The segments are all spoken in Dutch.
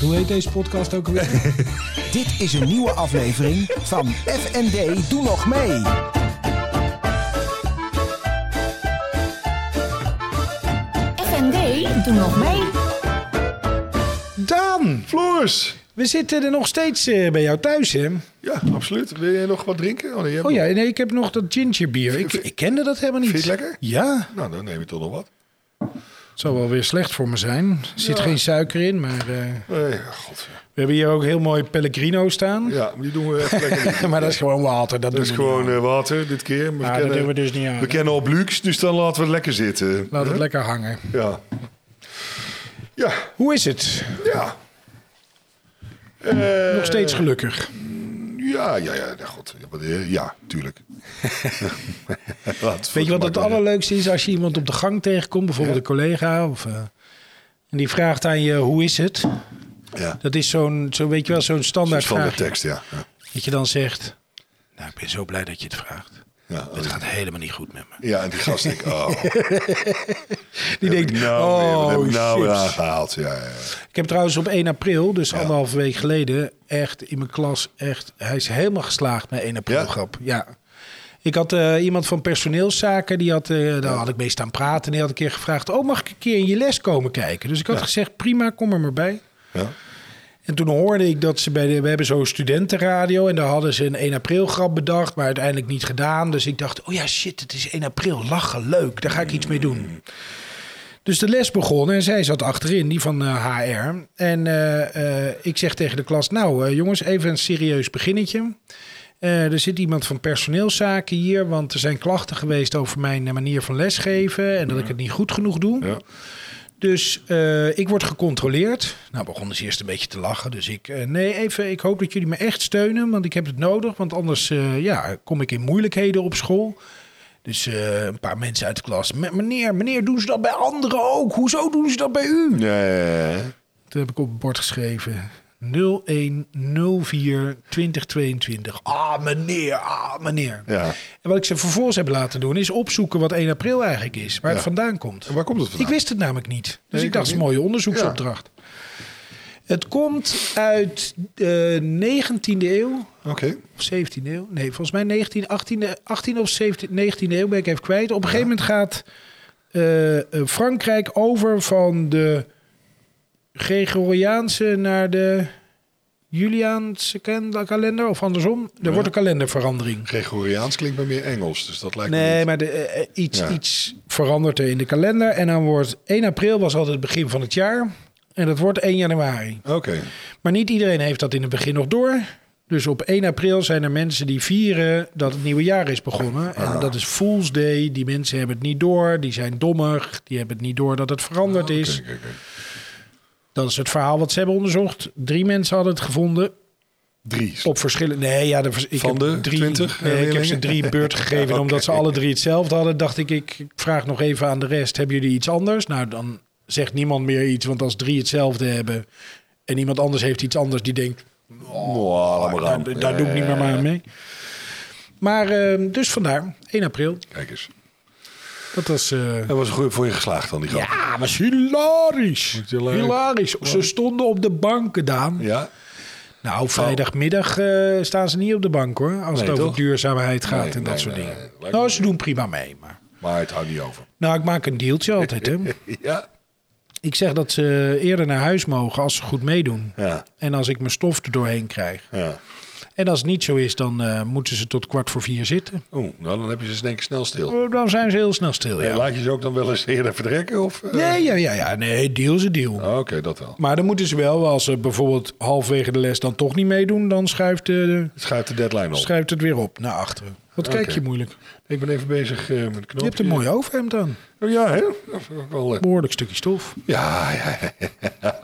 Hoe heet deze podcast ook alweer? Dit is een nieuwe aflevering van FND Doe Nog Mee. FND, doe nog mee. Daan, Floors! we zitten er nog steeds eh, bij jou thuis, hè? Ja, absoluut. Wil jij nog wat drinken? Oh, nee, jij hebt Oh ja, nog- nee, ik heb nog dat gingerbier. Ik, ik kende dat helemaal niet. Vind je het lekker? Ja, Nou, dan neem je toch nog wat. het zou wel weer slecht voor me zijn. Er zit geen suiker in, maar eh, Nee, god. we hebben hier ook heel mooi Pellegrino staan. Ja, maar die doen we even lekker niet. maar dat is gewoon water. Dat, Dat is gewoon eh, water dit keer. We, dat doen we dus niet aan. we kennen op luxe, dus dan laten we het lekker zitten. Laat het lekker hangen. Ja. Ja, Hoe is het? ja. Eh, Nog steeds gelukkig. Ja, ja, ja. ja, god. Ja, maar, eh, Ja, tuurlijk. Weet je wat het allerleukste is als je iemand op de gang tegenkomt, bijvoorbeeld een collega, of, eh, en die vraagt aan je hoe is het? Ja, Dat is zo'n, zo, weet je wel, zo'n standaard van de vraag. tekst, ja. Ja. Dat je dan zegt, nou ik ben zo blij dat je het vraagt. Ja, Het gaat helemaal niet goed met me. ja, en die gast denkt, oh, Die denkt, nou, weer, wat heb oh ik nou shit. weer gehaald. Ja, ja, ja. Ik heb trouwens op 1 april, dus anderhalve week geleden, echt in mijn klas, echt, hij is helemaal geslaagd met 1 april Ja? grap. Ja. Ik had eh, iemand van personeelszaken, die had, eh, daar had ik mee staan praten. En die had een keer gevraagd, oh mag ik een keer in je les komen kijken? Dus ik had gezegd, prima, kom er maar bij. ja. En toen hoorde ik dat ze bij de. We hebben zo'n studentenradio. En daar hadden ze een 1 april grap bedacht. Maar uiteindelijk niet gedaan. Dus ik dacht: oh ja, shit, het is 1 april. Lachen, leuk. Daar ga ik iets mee doen. Dus de les begon en zij zat achterin, die van eh, HR. En eh, eh, ik zeg tegen de klas: Nou, eh, jongens, even een serieus beginnetje. Eh, er zit iemand van personeelszaken hier, want er zijn klachten geweest over mijn eh, manier van lesgeven en dat ik het niet goed genoeg doe. Ja. Dus eh, ik word gecontroleerd. Nou, begonnen ze eerst een beetje te lachen. Dus ik, eh, nee, even, ik hoop dat jullie me echt steunen, want ik heb het nodig. Want anders eh, ja, kom ik in moeilijkheden op school. Dus eh, een paar mensen uit de klas. "Me- Meneer, meneer, doen ze dat bij anderen ook? Hoezo doen ze dat bij u? Nee. Toen heb ik op het bord geschreven 0104 2022. Ah, meneer, ah, meneer. Ja. En wat ik ze vervolgens heb laten doen, is opzoeken wat 1 april eigenlijk is. Waar het Ja. vandaan komt. En waar komt het vandaan? Ik wist het namelijk niet. Dus Nee, ik ik dacht, ook het is een niet. mooie onderzoeksopdracht. Het komt uit de 19e eeuw. Oké. Of 17e eeuw? Nee, volgens mij 19, 18e, 18e of 17e 19e eeuw ben ik even kwijt. Op een gegeven moment gaat eh, eh, Frankrijk over van de Gregoriaanse naar de Juliaanse ken- kalender. Of andersom. Er wordt een kalenderverandering. Gregoriaans klinkt bij meer Engels, dus dat lijkt me Nee, niet. maar de, eh, eh, iets, Ja. iets verandert er in de kalender. En dan wordt 1 april was altijd het begin van het jaar. En dat wordt 1 januari. Oké, Maar niet iedereen heeft dat in het begin nog door. Dus op 1 april zijn er mensen die vieren dat het nieuwe jaar is begonnen. Ah. En dat is Fool's Day. Die mensen hebben het niet door. Die zijn dommig. Die hebben het niet door dat het veranderd is. Ah, Oké, oké. Dat is het verhaal wat ze hebben onderzocht. Drie mensen hadden het gevonden. drie. Op verschillende. Nee, ja, de, vers- ik Van heb de drie, 20 nee, ik heb ze leerlingen? drie beurt gegeven. En Omdat ze alle drie hetzelfde hadden, dacht ik, ik vraag nog even aan de rest: hebben jullie iets anders? Nou, dan zegt niemand meer iets. Want als drie hetzelfde hebben en iemand anders heeft iets anders, die denkt: Oh, laat maar aan. daar, Nou, daar doe ik niet meer maar aan mee. Maar eh, dus vandaar, 1 april. Kijk eens. Dat was. eh, Dat was goed voor je geslaagd dan, die grap. ja, was hilarisch. je leuk. Hilarisch. Ze stonden op de banken, Daan. Ja? Oh. Nou, vrijdagmiddag eh, staan ze niet op de bank hoor. Als Nee, het over toch? duurzaamheid gaat Nee, en dat nee, soort nee, dingen. nee, lijkt me nou, wel. ze doen prima mee. Maar. Maar het houdt niet over. Nou, ik maak een deeltje altijd. Hè. Ja? Ik zeg dat ze eerder naar huis mogen als ze goed meedoen. Ja. En als ik mijn stof er doorheen krijg. ja. En als het niet zo is, dan eh, moeten ze tot kwart voor vier zitten. Oeh, nou dan heb je ze in één keer snel stil. Oh, Dan zijn ze heel snel stil. En Ja. laat je ze ook dan wel eens eerder vertrekken? Of, eh? Nee, ja, ja, ja, nee, deal is een deal. Oh, Oké, dat wel. Maar dan moeten ze wel, als ze bijvoorbeeld halverwege de les dan toch niet meedoen, dan schuift, eh, Het schuift de deadline op. schuift het weer op naar achteren. Wat kijk Oké. je moeilijk? Ik ben even bezig eh, met knop. Je hebt een mooi overhemd aan. Oh, ja, hè? Dat is ook wel, eh, Behoorlijk stukje stof. Ja, ja.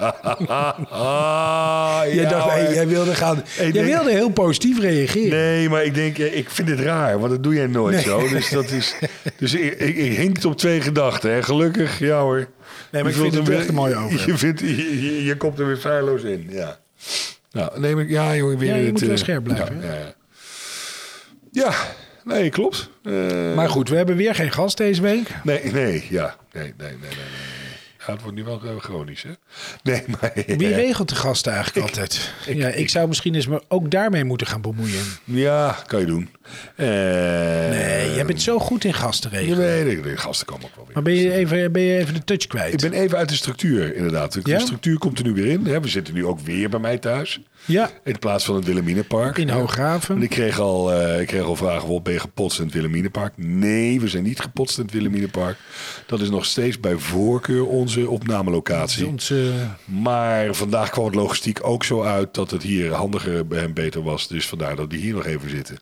ah, Jij ja, dacht, hoor. hey, jij wilde gaan. jij denk- wilde heel positief reageren. Nee, maar ik denk, eh, ik vind het raar, want dat doe jij nooit zo. Dus, dat is, dus ik, ik, ik hinkt op twee gedachten. Hè. Gelukkig, ja hoor. maar Je ik vind vult het er echt weer- een mooie over. Je, vindt, je, je- je komt er weer feilloos in, ja. Nou, neem ik, ja jongen, weer Ja, je het, moet wel eh, scherp blijven, Ja, ja, ja. Ja, nee, klopt. Eh, Maar goed, we hebben weer geen gast deze week. nee, nee, ja. Nee, nee, nee, nee, nee. Ja, het wordt nu wel eh, chronisch, hè? Nee, maar... Wie regelt de gasten eigenlijk altijd? ja, ik zou misschien eens me ook daarmee moeten gaan bemoeien. Ja, kan je doen. Eh, Nee, jij bent zo goed in gasten Je regelen. weet het, de gasten komen ook wel weer. Maar ben je even, ben je even de touch kwijt? Ik ben even uit de structuur, inderdaad. De Ja? structuur komt er nu weer in. Hè? We zitten nu ook weer bij mij thuis. Ja, In plaats van het Wilhelminapark. in Want Hooggraven. ik kreeg al, eh, ik kreeg al vragen, "Wol, ben je gepotst in het Wilhelminapark? Nee, we zijn niet gepotst in het Wilhelminapark. Dat is nog steeds bij voorkeur onze opnamelocatie. Onze, Maar vandaag kwam het logistiek ook zo uit dat het hier handiger en beter was. Dus vandaar dat die hier nog even zitten.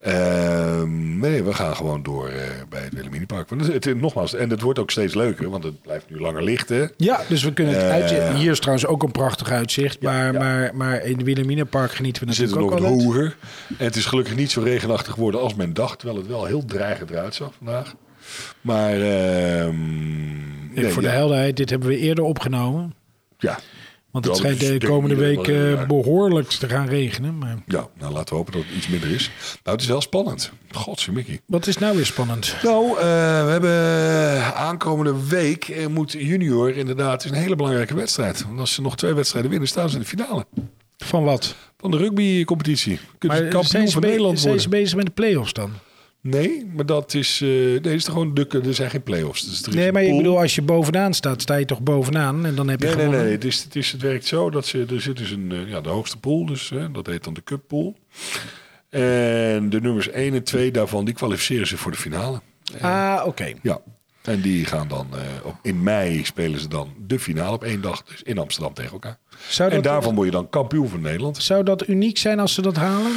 Ehm, nee, we gaan gewoon door eh, bij het Wilhelminapark. Want het, het- nogmaals, en het wordt ook steeds leuker, want het blijft nu langer licht, hè? ja, dus we kunnen het Eh, uitzicht. Hier is trouwens ook een prachtig uitzicht. Maar, ja. Maar, maar in het Wilhelminapark genieten we We zitten natuurlijk nog ook wat al. uit. hoger. En het is gelukkig niet zo regenachtig geworden als men dacht. Terwijl het wel heel dreigend eruit zag vandaag. Maar ehm, nee, Even Voor ja, de helderheid, dit hebben we eerder opgenomen. ja. Want het Ja, schijnt dus de ik denk komende niet dat week dat eh, wel raar. behoorlijk te gaan regenen. Maar ja, nou laten we hopen dat het iets minder is. Nou, het is wel spannend. Godse Mickey. wat is nou weer spannend? Nou, eh, we hebben eh, aankomende week eh, moet junior inderdaad het is een hele belangrijke wedstrijd. Want als ze nog twee wedstrijden winnen, staan ze in de finale Van wat? van de rugbycompetitie. Kunnen ze Maar kampioen zijn ze, van be- Nederland zijn worden? ze bezig met de play-offs dan? Nee, maar dat is, eh nee, dat is toch gewoon de, er zijn geen play-offs. Dus er is Nee, een maar ik pool. bedoel, als je bovenaan staat, sta je toch bovenaan en dan heb je Nee, nee, gewonnen. nee. Het, is, het, is, het werkt zo dat ze, er zit dus een, eh, ja, de hoogste pool, dus, hè, dat heet dan de cup pool. En de nummers 1 en 2 daarvan, die kwalificeren ze voor de finale. Ah, oké. Ja. En die gaan dan, eh, op, in mei spelen ze dan de finale op één dag, dus in Amsterdam tegen elkaar. Zou en dat- daarvan word je dan kampioen van Nederland. Zou dat uniek zijn als ze dat halen?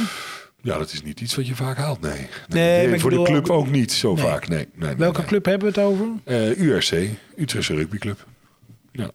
Ja, dat is niet iets wat je vaak haalt, nee. Nee, maar ik voor de bedoel- club ook niet zo vaak, nee. nee, nee, Welke nee. club hebben we het over? Eh, URC, Utrechtse rugbyclub. Ja.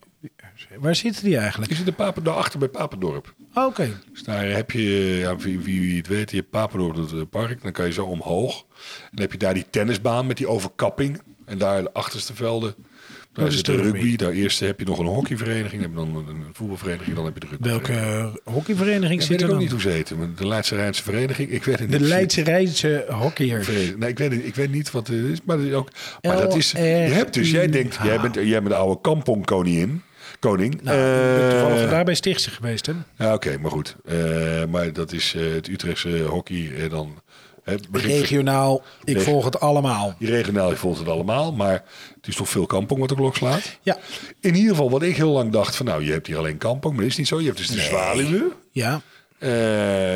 Waar zitten die eigenlijk? Die zit er Papen, daarachter bij Papendorp. Oké. Dus daar heb je, ja, wie, wie wie het weet, je hebt Papendorp dat eh, park. Dan kan je zo omhoog. En dan heb je daar die tennisbaan met die overkapping. En daar de achterste velden. Daar Dat is zit de de rugby. rugby. Daar eerst heb je nog een hockeyvereniging. Dan heb je dan een voetbalvereniging. Dan heb je de rugby. Welke eh, hockeyvereniging Ik zit weet er ik ook dan? niet hoe ze heten. maar De Leidse Rijnse Vereniging. Ik weet het De niet. Leidse Rijnse hockeyer. Vereniging. Nee, ik weet, het- ik weet niet wat het is, maar, dat is ook, maar dat is. Je LRUH. hebt dus, jij denkt, jij bent, jij bent de oude kampongkoningin. Koning. Nou, ik ben toevallig Eh, daar bij Stichtse geweest, hè? Ja, oké, maar goed. Eh, maar dat is eh, het Utrechtse hockey en dan... hè, het begint- Regionaal, ik Reg- volg het allemaal. Die regionaal je volgt het allemaal, maar het is toch veel kampong wat de klok slaat. Ja, In ieder geval, wat ik heel lang dacht van, nou, je hebt hier alleen kampong, maar dat is niet zo. Je hebt dus de Zwaluwen, ja. Eh,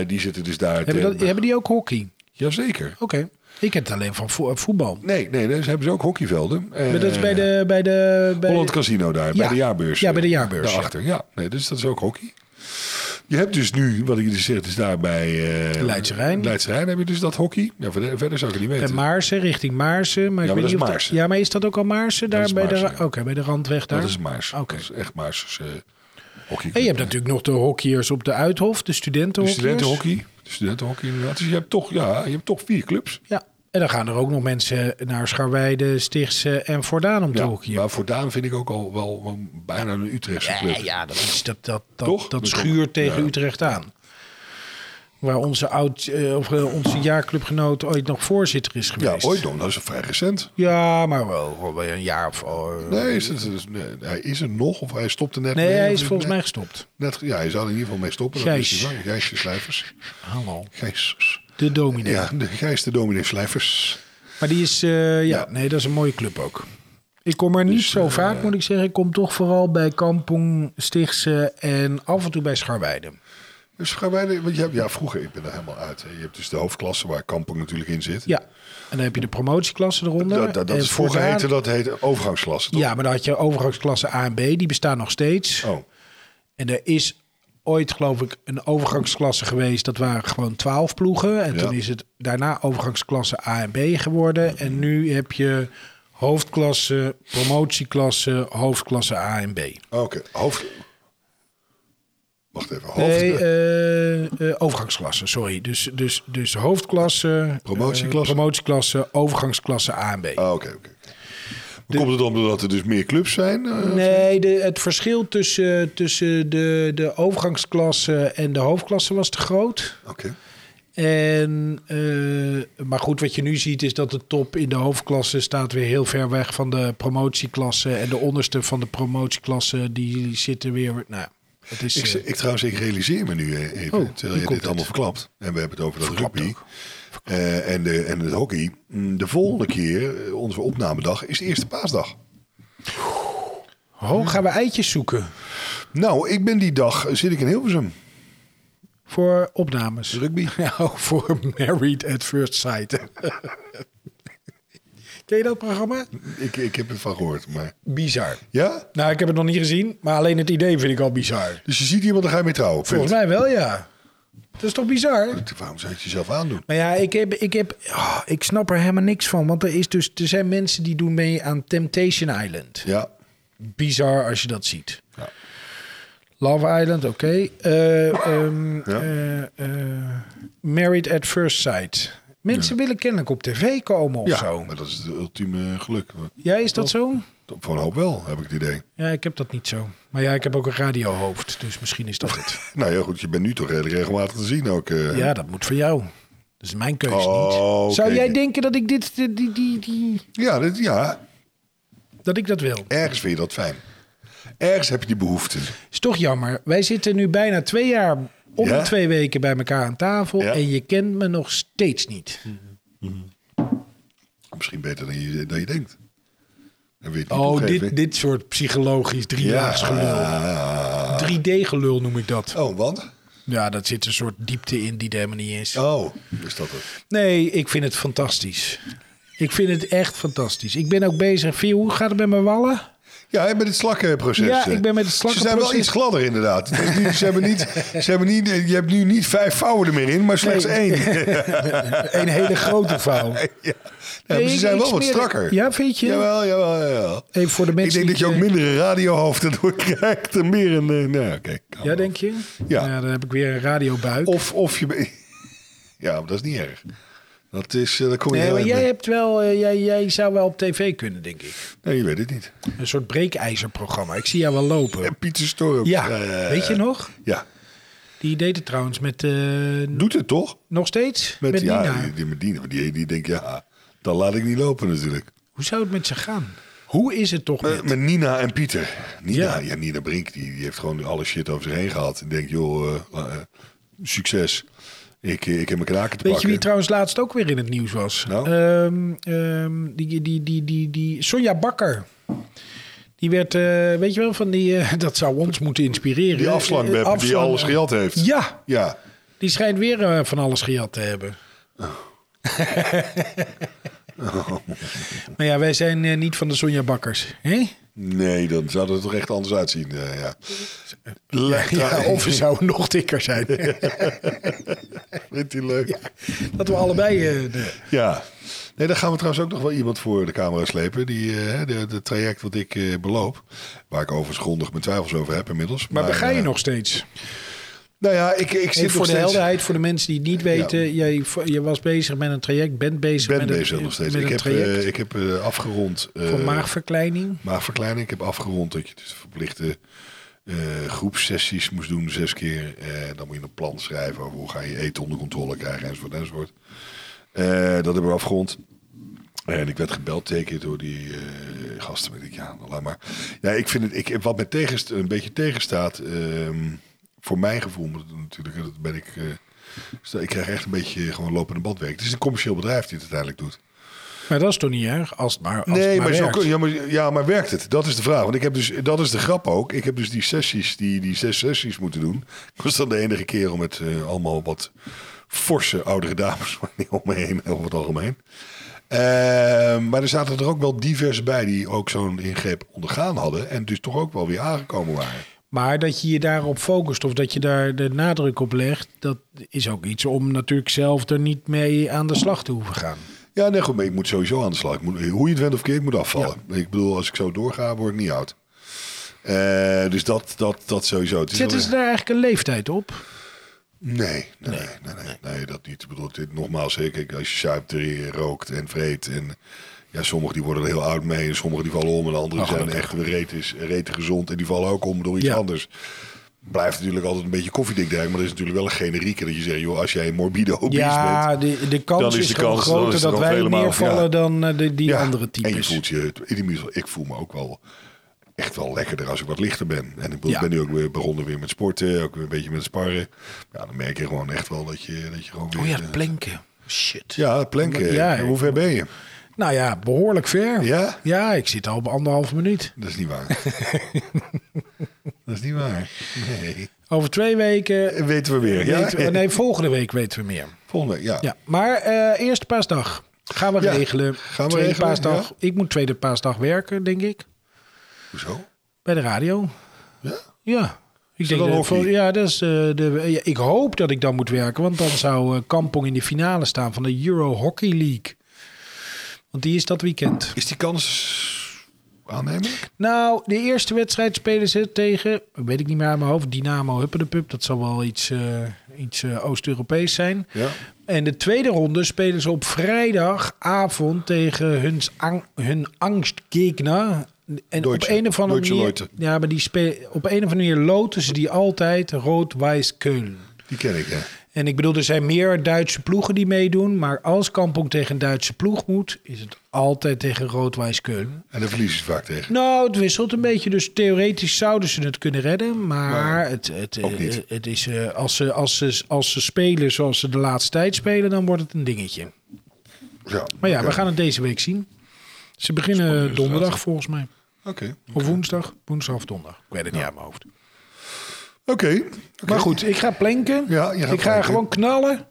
die zitten dus daar. Hebben, ten- dat, hebben die ook hockey? Jazeker. Oké. Ik ken het alleen van vo- voetbal. Nee, nee, daar hebben ze ook hockeyvelden. Eh, Maar dat is bij de... Bij de bij Holland Casino daar, bij Ja. de jaarbeurs. Ja, bij de jaarbeurs, Daarachter, ja. Nee, dus dat is ook hockey. Je hebt dus nu, wat ik dus zeg, dus daar bij... eh Leidse Rijn. Leidse Rijn heb je dus dat hockey. Ja, verder, verder zou ik het niet bij weten. Maarsen, richting Maarsen. Maar Ja, ik maar weet dat is niet of Maarsen. ja, maar is dat ook al Maarsen? Daar is bij de, Maarsen, ra- ja. Oké, bij de randweg daar. Dat is Maars. Oké. Dat is echt Maars. Dus, eh, hockey. En je hebt natuurlijk nog de hockeyers op de Uithof, de de studentenhockeyers. studentenhockey. De studentenhockey inderdaad. Dus je hebt toch, ja, je hebt toch vier clubs. Ja, en dan gaan er ook nog mensen naar Scharweide, Stichtse en Vordaan om te Ja, hockeyen. maar Voordaan vind ik ook al wel wel bijna een Utrechtse club. Ja, ja, dat, is, dat, dat, Toch? dat, dat Dat schuurt ook. tegen Ja. Utrecht aan. Waar onze, oud, eh, of, eh, onze jaarclubgenoot ooit nog voorzitter is Ja, geweest. ooit nog. Dat is vrij recent. Ja, maar wel, wel bij een jaar of... eh, Nee, is het, is- nee, hij is er nog of hij stopte net nee, mee, hij of is niet? volgens Nee. mij gestopt. Net, ja, hij zou er in ieder geval mee stoppen. Dat Gijs. is hij wel. Gijsje Slijvers. Hallo. Gijs. De dominee. Ja, de Gijs de dominee Slijvers. Maar die is... eh, ja, Ja. Dus, eh, nee, dat is een mooie club ook. Ik kom er niet zo vaak, moet ik zeggen. Ik kom toch vooral bij Kampong, Stichtse en af en toe bij Scharweide. Dus gaan wij, de- want je hebt, ja, vroeger, ik ben er helemaal uit. hè. Je hebt dus de hoofdklasse waar Kampong natuurlijk in zit. Ja, en dan heb je de promotieklasse eronder. Dat, dat, dat En is vroeger voortaan- heette dat heette overgangsklasse, toch? Ja, maar dan had je overgangsklasse A en B, die bestaan nog steeds. Oh, En er is ooit, geloof ik, een overgangsklasse geweest. Dat waren gewoon twaalf ploegen. En Ja. toen is het daarna overgangsklasse A en B geworden. En nu heb je hoofdklasse, promotieklasse, hoofdklasse A en B. oké. Hoofd... Wacht even. Hoofd... Nee, eh, eh, overgangsklasse, sorry. Dus, dus, dus hoofdklasse, Promotieklasse. eh, promotieklasse, overgangsklasse A en B. Ah, oké, oké. Maar Komt het dan omdat er dus meer clubs zijn? eh? Nee, de, het verschil tussen, tussen de, de overgangsklasse en de hoofdklasse was te groot. Oké. En, eh, maar goed, wat je nu ziet is dat de top in de hoofdklasse staat weer heel ver weg van de promotieklasse. En de onderste van de promotieklasse, die zitten weer... Nou, ja, het is... Ik, eh, ik trouwens, ik realiseer me nu eh, even, Oh, nu terwijl je komt dit het. allemaal verklapt. En we hebben het over dat Verklapt rugby ook. eh, en, de, en het hockey. Mm, De volgende keer, eh, onze opnamedag, is de eerste paasdag. oh, gaan we eitjes zoeken Nou, ik ben die dag, eh, zit ik in Hilversum. voor opnames? Rugby. Nou, voor Married at First Sight. Ken je dat programma? Ik, ik heb het van gehoord, maar... Bizar. Ja? Nou, ik heb het nog niet gezien, maar alleen het idee vind ik al bizar. Dus je ziet iemand, dan ga je mee trouwen. Volgens mij wel, ja. Dat is toch bizar? mij. Waarom zou je het jezelf aandoen? Maar ja, ik, heb, ik, heb, ah, ik snap er helemaal niks van. Want er, is dus, er zijn mensen die doen mee aan Temptation Island. Ja. Bizar als je dat ziet. Ja. Love Island, oké. Eh, ehm, Ja. eh, eh, Married at First Sight. Mensen willen kennelijk op tv komen of ja, Oh. zo. maar dat is het ultieme geluk. Ja, is dat zo? Voor een hoop wel, heb ik het idee. Ja, ik heb dat niet zo. Maar ja, ik heb ook een radiohoofd, dus misschien is dat het. Nou ja, goed, je bent nu toch redelijk regelmatig te zien ook. eh. Ja, dat moet voor jou. Dat is mijn keuze Oh, niet. Zou oké. jij denken dat ik dit, die, die, die, die- Ja, dit, ja, dat ik dat wil? ergens vind je dat fijn. Ergens heb je die behoefte. Is toch jammer. Wij zitten nu bijna twee jaar om Ja. de twee weken bij elkaar aan tafel Ja. en je kent me nog steeds niet. Misschien beter dan je, dan je denkt. Dan weet je het niet Oh, toegeven. dit, dit soort psychologisch driedaags gelul. Ja. 3D-gelul noem ik dat. Oh, want? Ja, dat zit een soort diepte in die er helemaal niet is. Oh, is dat het? Nee, ik vind het fantastisch. Ik vind het echt fantastisch. Ik ben ook bezig. Vio, hoe gaat het met mijn wallen? Ja, met het slakkenproces. Ja, eh. ik ben met het Ze zijn wel slakkenproces- iets gladder inderdaad. Het is niet- ze hebben niet, ze hebben niet, je hebt nu niet vijf vouwen er meer in, maar slechts Nee. één. Een hele grote vouw. Ja. Nee, maar ze ik- zijn ik wel wat smeer- strakker. Ja, vind je? Jawel, jawel, jawel. Even voor de Ik mensen denk dat je die- eh, ook mindere radiohoofden door krijgt en meer een... eh, nou, oké. kan Ja, wel. denk je? Ja. Oh, Nou, dan heb ik weer een radiobuik. Of, of je... be- Ja, maar dat is niet erg. Dat is... eh, daar kom je Nee, heel maar erg jij, mee. hebt wel, eh, jij, jij zou wel op tv kunnen, denk ik. Nee, je weet het niet. Een soort breekijzerprogramma. Ik zie jou wel lopen. En Pieter Storm. Ja, Eh, weet je nog? Ja. Die deed het trouwens met... eh, Doet het toch? nog steeds? Met, ja, Nina. Die, die, met Nina. Maar Die, die denkt, ja, dan laat ik niet lopen natuurlijk. Hoe zou het met ze gaan? Hoe is het toch Eh, Met, met... met Nina en Pieter. Nina, ja. Ja. Nina Brink, die, die heeft gewoon alle shit over zich heen gehad. En denkt, joh, eh, la- eh, succes. Ik, eh, ik heb mijn kraken Weet te je pakken. wie trouwens laatst ook weer in het nieuws was? Nou? Ehm, ehm, die, die, die, die, die Sonja Bakker. Die werd, eh, weet je wel, van die... eh, dat zou ons moeten inspireren. Die afslankbep Eh, die afslank- alles gejat heeft. Ja, Ja. die schijnt weer eh, van alles gejat te hebben. Oh. maar ja, wij zijn eh, niet van de Sonja Bakkers. Hè? Nee, dan zou het er toch echt anders uitzien. eh, ja. Ja, of we is zouden nog dikker zijn. Vindt hij leuk? Ja. Dat we allebei... eh, de- Nee, daar gaan we trouwens ook nog wel iemand voor de camera slepen. Die, eh, de, de traject wat ik eh, beloop. Waar ik overigens grondig mijn twijfels over heb inmiddels. Maar daar ga je eh, nog steeds. Nou ja, ik, ik zit Even voor nog de steeds... helderheid, voor de mensen die het niet weten. Jij, je was bezig met een traject, bent bezig Ik ben met bezig een, nog steeds. Met Ik een heb, traject eh, ik heb eh, afgerond... eh, voor maagverkleining. maagverkleining. Ik heb afgerond dat je dus verplichte eh, groepsessies moest doen, zes keer. Eh, dan moet je een plan schrijven over hoe ga je eten onder controle krijgen, enzovoort, enzovoort. Eh, dat hebben we afgerond. En ik werd gebeld tekenen door die eh, gasten. Maar ik dacht, ja, nou, laat maar. Ja, ik vind het, ik, wat me tegenst, een beetje tegenstaat, ehm, voor mijn gevoel moet het natuurlijk, en dat ben ik... eh, stel- ik krijg echt een beetje gewoon lopende bandwerk. Het is een commercieel bedrijf die het uiteindelijk doet. Maar dat is toch niet erg? Als het maar, als het Nee, maar, zo, werkt. kun- ja, maar, ja, maar werkt het? Dat is de vraag. Want ik heb dus, dat is de grap ook. Ik heb dus die sessies, die, die zes sessies moeten doen. Ik was dan de enige kerel met eh, allemaal wat forse oudere dames om me heen, over het algemeen. Eh, maar er zaten er ook wel diverse bij die ook zo'n ingreep ondergaan hadden. En dus toch ook wel weer aangekomen waren. Maar dat je je daarop focust of dat je daar de nadruk op legt, dat is ook iets om natuurlijk zelf er niet mee aan de slag te hoeven gaan. Ja, nee, goed, maar ik moet sowieso aan de slag. Ik moet, hoe je het went of keer, ik moet afvallen. Ik bedoel, als ik zo doorga, word ik niet oud. Eh, dus dat, dat, dat sowieso. Het is wel- Zetten ze daar eigenlijk een leeftijd op? Nee, nee, nee, nee, nee, nee, dat niet. Ik bedoel, dit, nogmaals, hè, kijk, als je zuipt, eh, rookt en vreet. En, ja, sommigen die worden er heel oud mee, en sommigen die vallen om. En anderen zijn echt reet, is, reet gezond en die vallen ook om door iets Nou, Ja. anders. blijft natuurlijk altijd een beetje koffiedik denken, maar er is natuurlijk wel een generieke dat je zegt, joh, als jij morbide obese bent, Ja, de, de kans Dan is, is de gewoon kans- dan groter is de dat kans wij helemaal- neervallen ja. dan eh, de, die ja, andere En je types. voelt je, in ieder geval, ik voel me ook wel echt wel lekkerder als ik wat lichter ben. En ik bedoel, Ja. ik ben nu ook weer begonnen weer met sporten, ook weer een beetje met sparren. Ja, dan merk je gewoon echt wel dat je, dat je gewoon weer... Oh ja, eh, planken. Shit. ja, planken. Ja, En Hoe ver ben je? Nou ja, behoorlijk ver. Ja? Ja, ik zit al op anderhalve minuut. Dat is niet waar. dat is niet waar. Nee. Over twee weken. En weten we weer. Ja? weten we- nee, volgende week weten we meer. Volgende week, ja. Ja, maar eh eerste paasdag gaan we Ja, regelen. gaan we tweede regelen, paasdag. ja. Ik moet tweede paasdag werken, denk ik. Hoezo? Bij de radio. Ja? Ja. Ik, dat denk dat, hockey? vol- ja, dat is, eh, de, ja, ik hoop dat ik dan moet werken. Want dan zou eh, Kampong in de finale staan van de Euro Hockey League. Want die is dat weekend. Is die kans aannemelijk? Nou, de eerste wedstrijd spelen ze tegen, weet ik niet meer uit mijn hoofd, Dynamo Huppedepup. Dat zal wel iets, eh, iets eh, Oost-Europees zijn. Ja. En de tweede ronde spelen ze op vrijdagavond tegen hun, ang- hun angstgegner. En Deutsche- op een of andere Deutsche manier, Leute. ja, maar die spe- op een of andere manier loten ze die altijd rood-wijs Keulen. Die ken ik, ja. En ik bedoel, er zijn meer Duitse ploegen die meedoen. Maar als Kampong tegen een Duitse ploeg moet, is het altijd tegen rood-wijs Keulen. En daar verliezen ze vaak tegen. Nou, het wisselt een beetje. Dus theoretisch zouden ze het kunnen redden. Maar het, het, eh, ook niet. het is, eh, als, ze, als, ze, als ze spelen zoals ze de laatste tijd spelen, dan wordt het een dingetje. Ja, Maar ja, oké. we gaan het deze week zien. Ze beginnen donderdag volgens mij. Oké. Of woensdag. Woensdag of donderdag. Ik weet het niet uit mijn hoofd. Oké. Maar goed, ik ga planken. Ja, je gaat ik ga planken. gewoon knallen.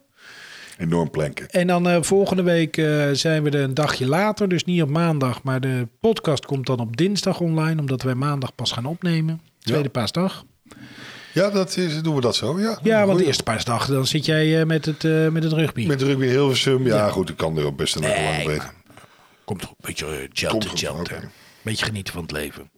Enorm planken. En dan eh, volgende week eh, zijn we er een dagje later. Dus niet op maandag. Maar de podcast komt dan op dinsdag online. Omdat wij maandag pas gaan opnemen. Tweede paasdag. Ja, dat is, doen we dat zo. Ja, Ja, want Goed. de eerste paasdag dan zit jij eh, met, het, eh, met het rugby. Met rugby Hilversum. Ja, goed, ik kan er ook best een lekker lang weten. Komt goed. Beetje uh, Komt goed, oké. Beetje genieten van het leven.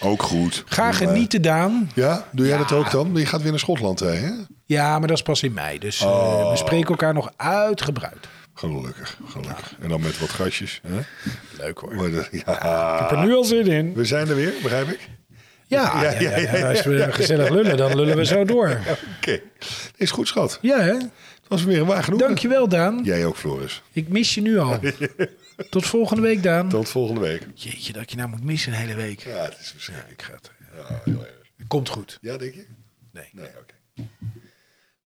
eh, Ook goed. Ga Maar- genieten, Daan. Ja, doe jij dat ook dan? Je gaat weer naar Schotland, hè? hè? Ja, maar dat is pas in mei. Dus eh, we spreken elkaar nog uitgebreid. Gelukkig, gelukkig. En dan met wat gastjes. Hè? Leuk hoor. Maar dat- ja. er nu al zin in. We zijn er weer, begrijp ik? Ja, ja, ja, ja. als we eh, gezellig lullen, dan lullen we zo door. Oké. Is goed, schat. Ja, hè? Het was weer een waar genoegen. Dankjewel, Daan. Jij ook, Floris. Ik mis je nu al. Tot volgende week, Daan. Tot volgende week. Jeetje, dat ik je nou moet missen een hele week. Ja, het is verschrikkelijk. Komt goed. Ja, denk je? Nee. Nee, oké.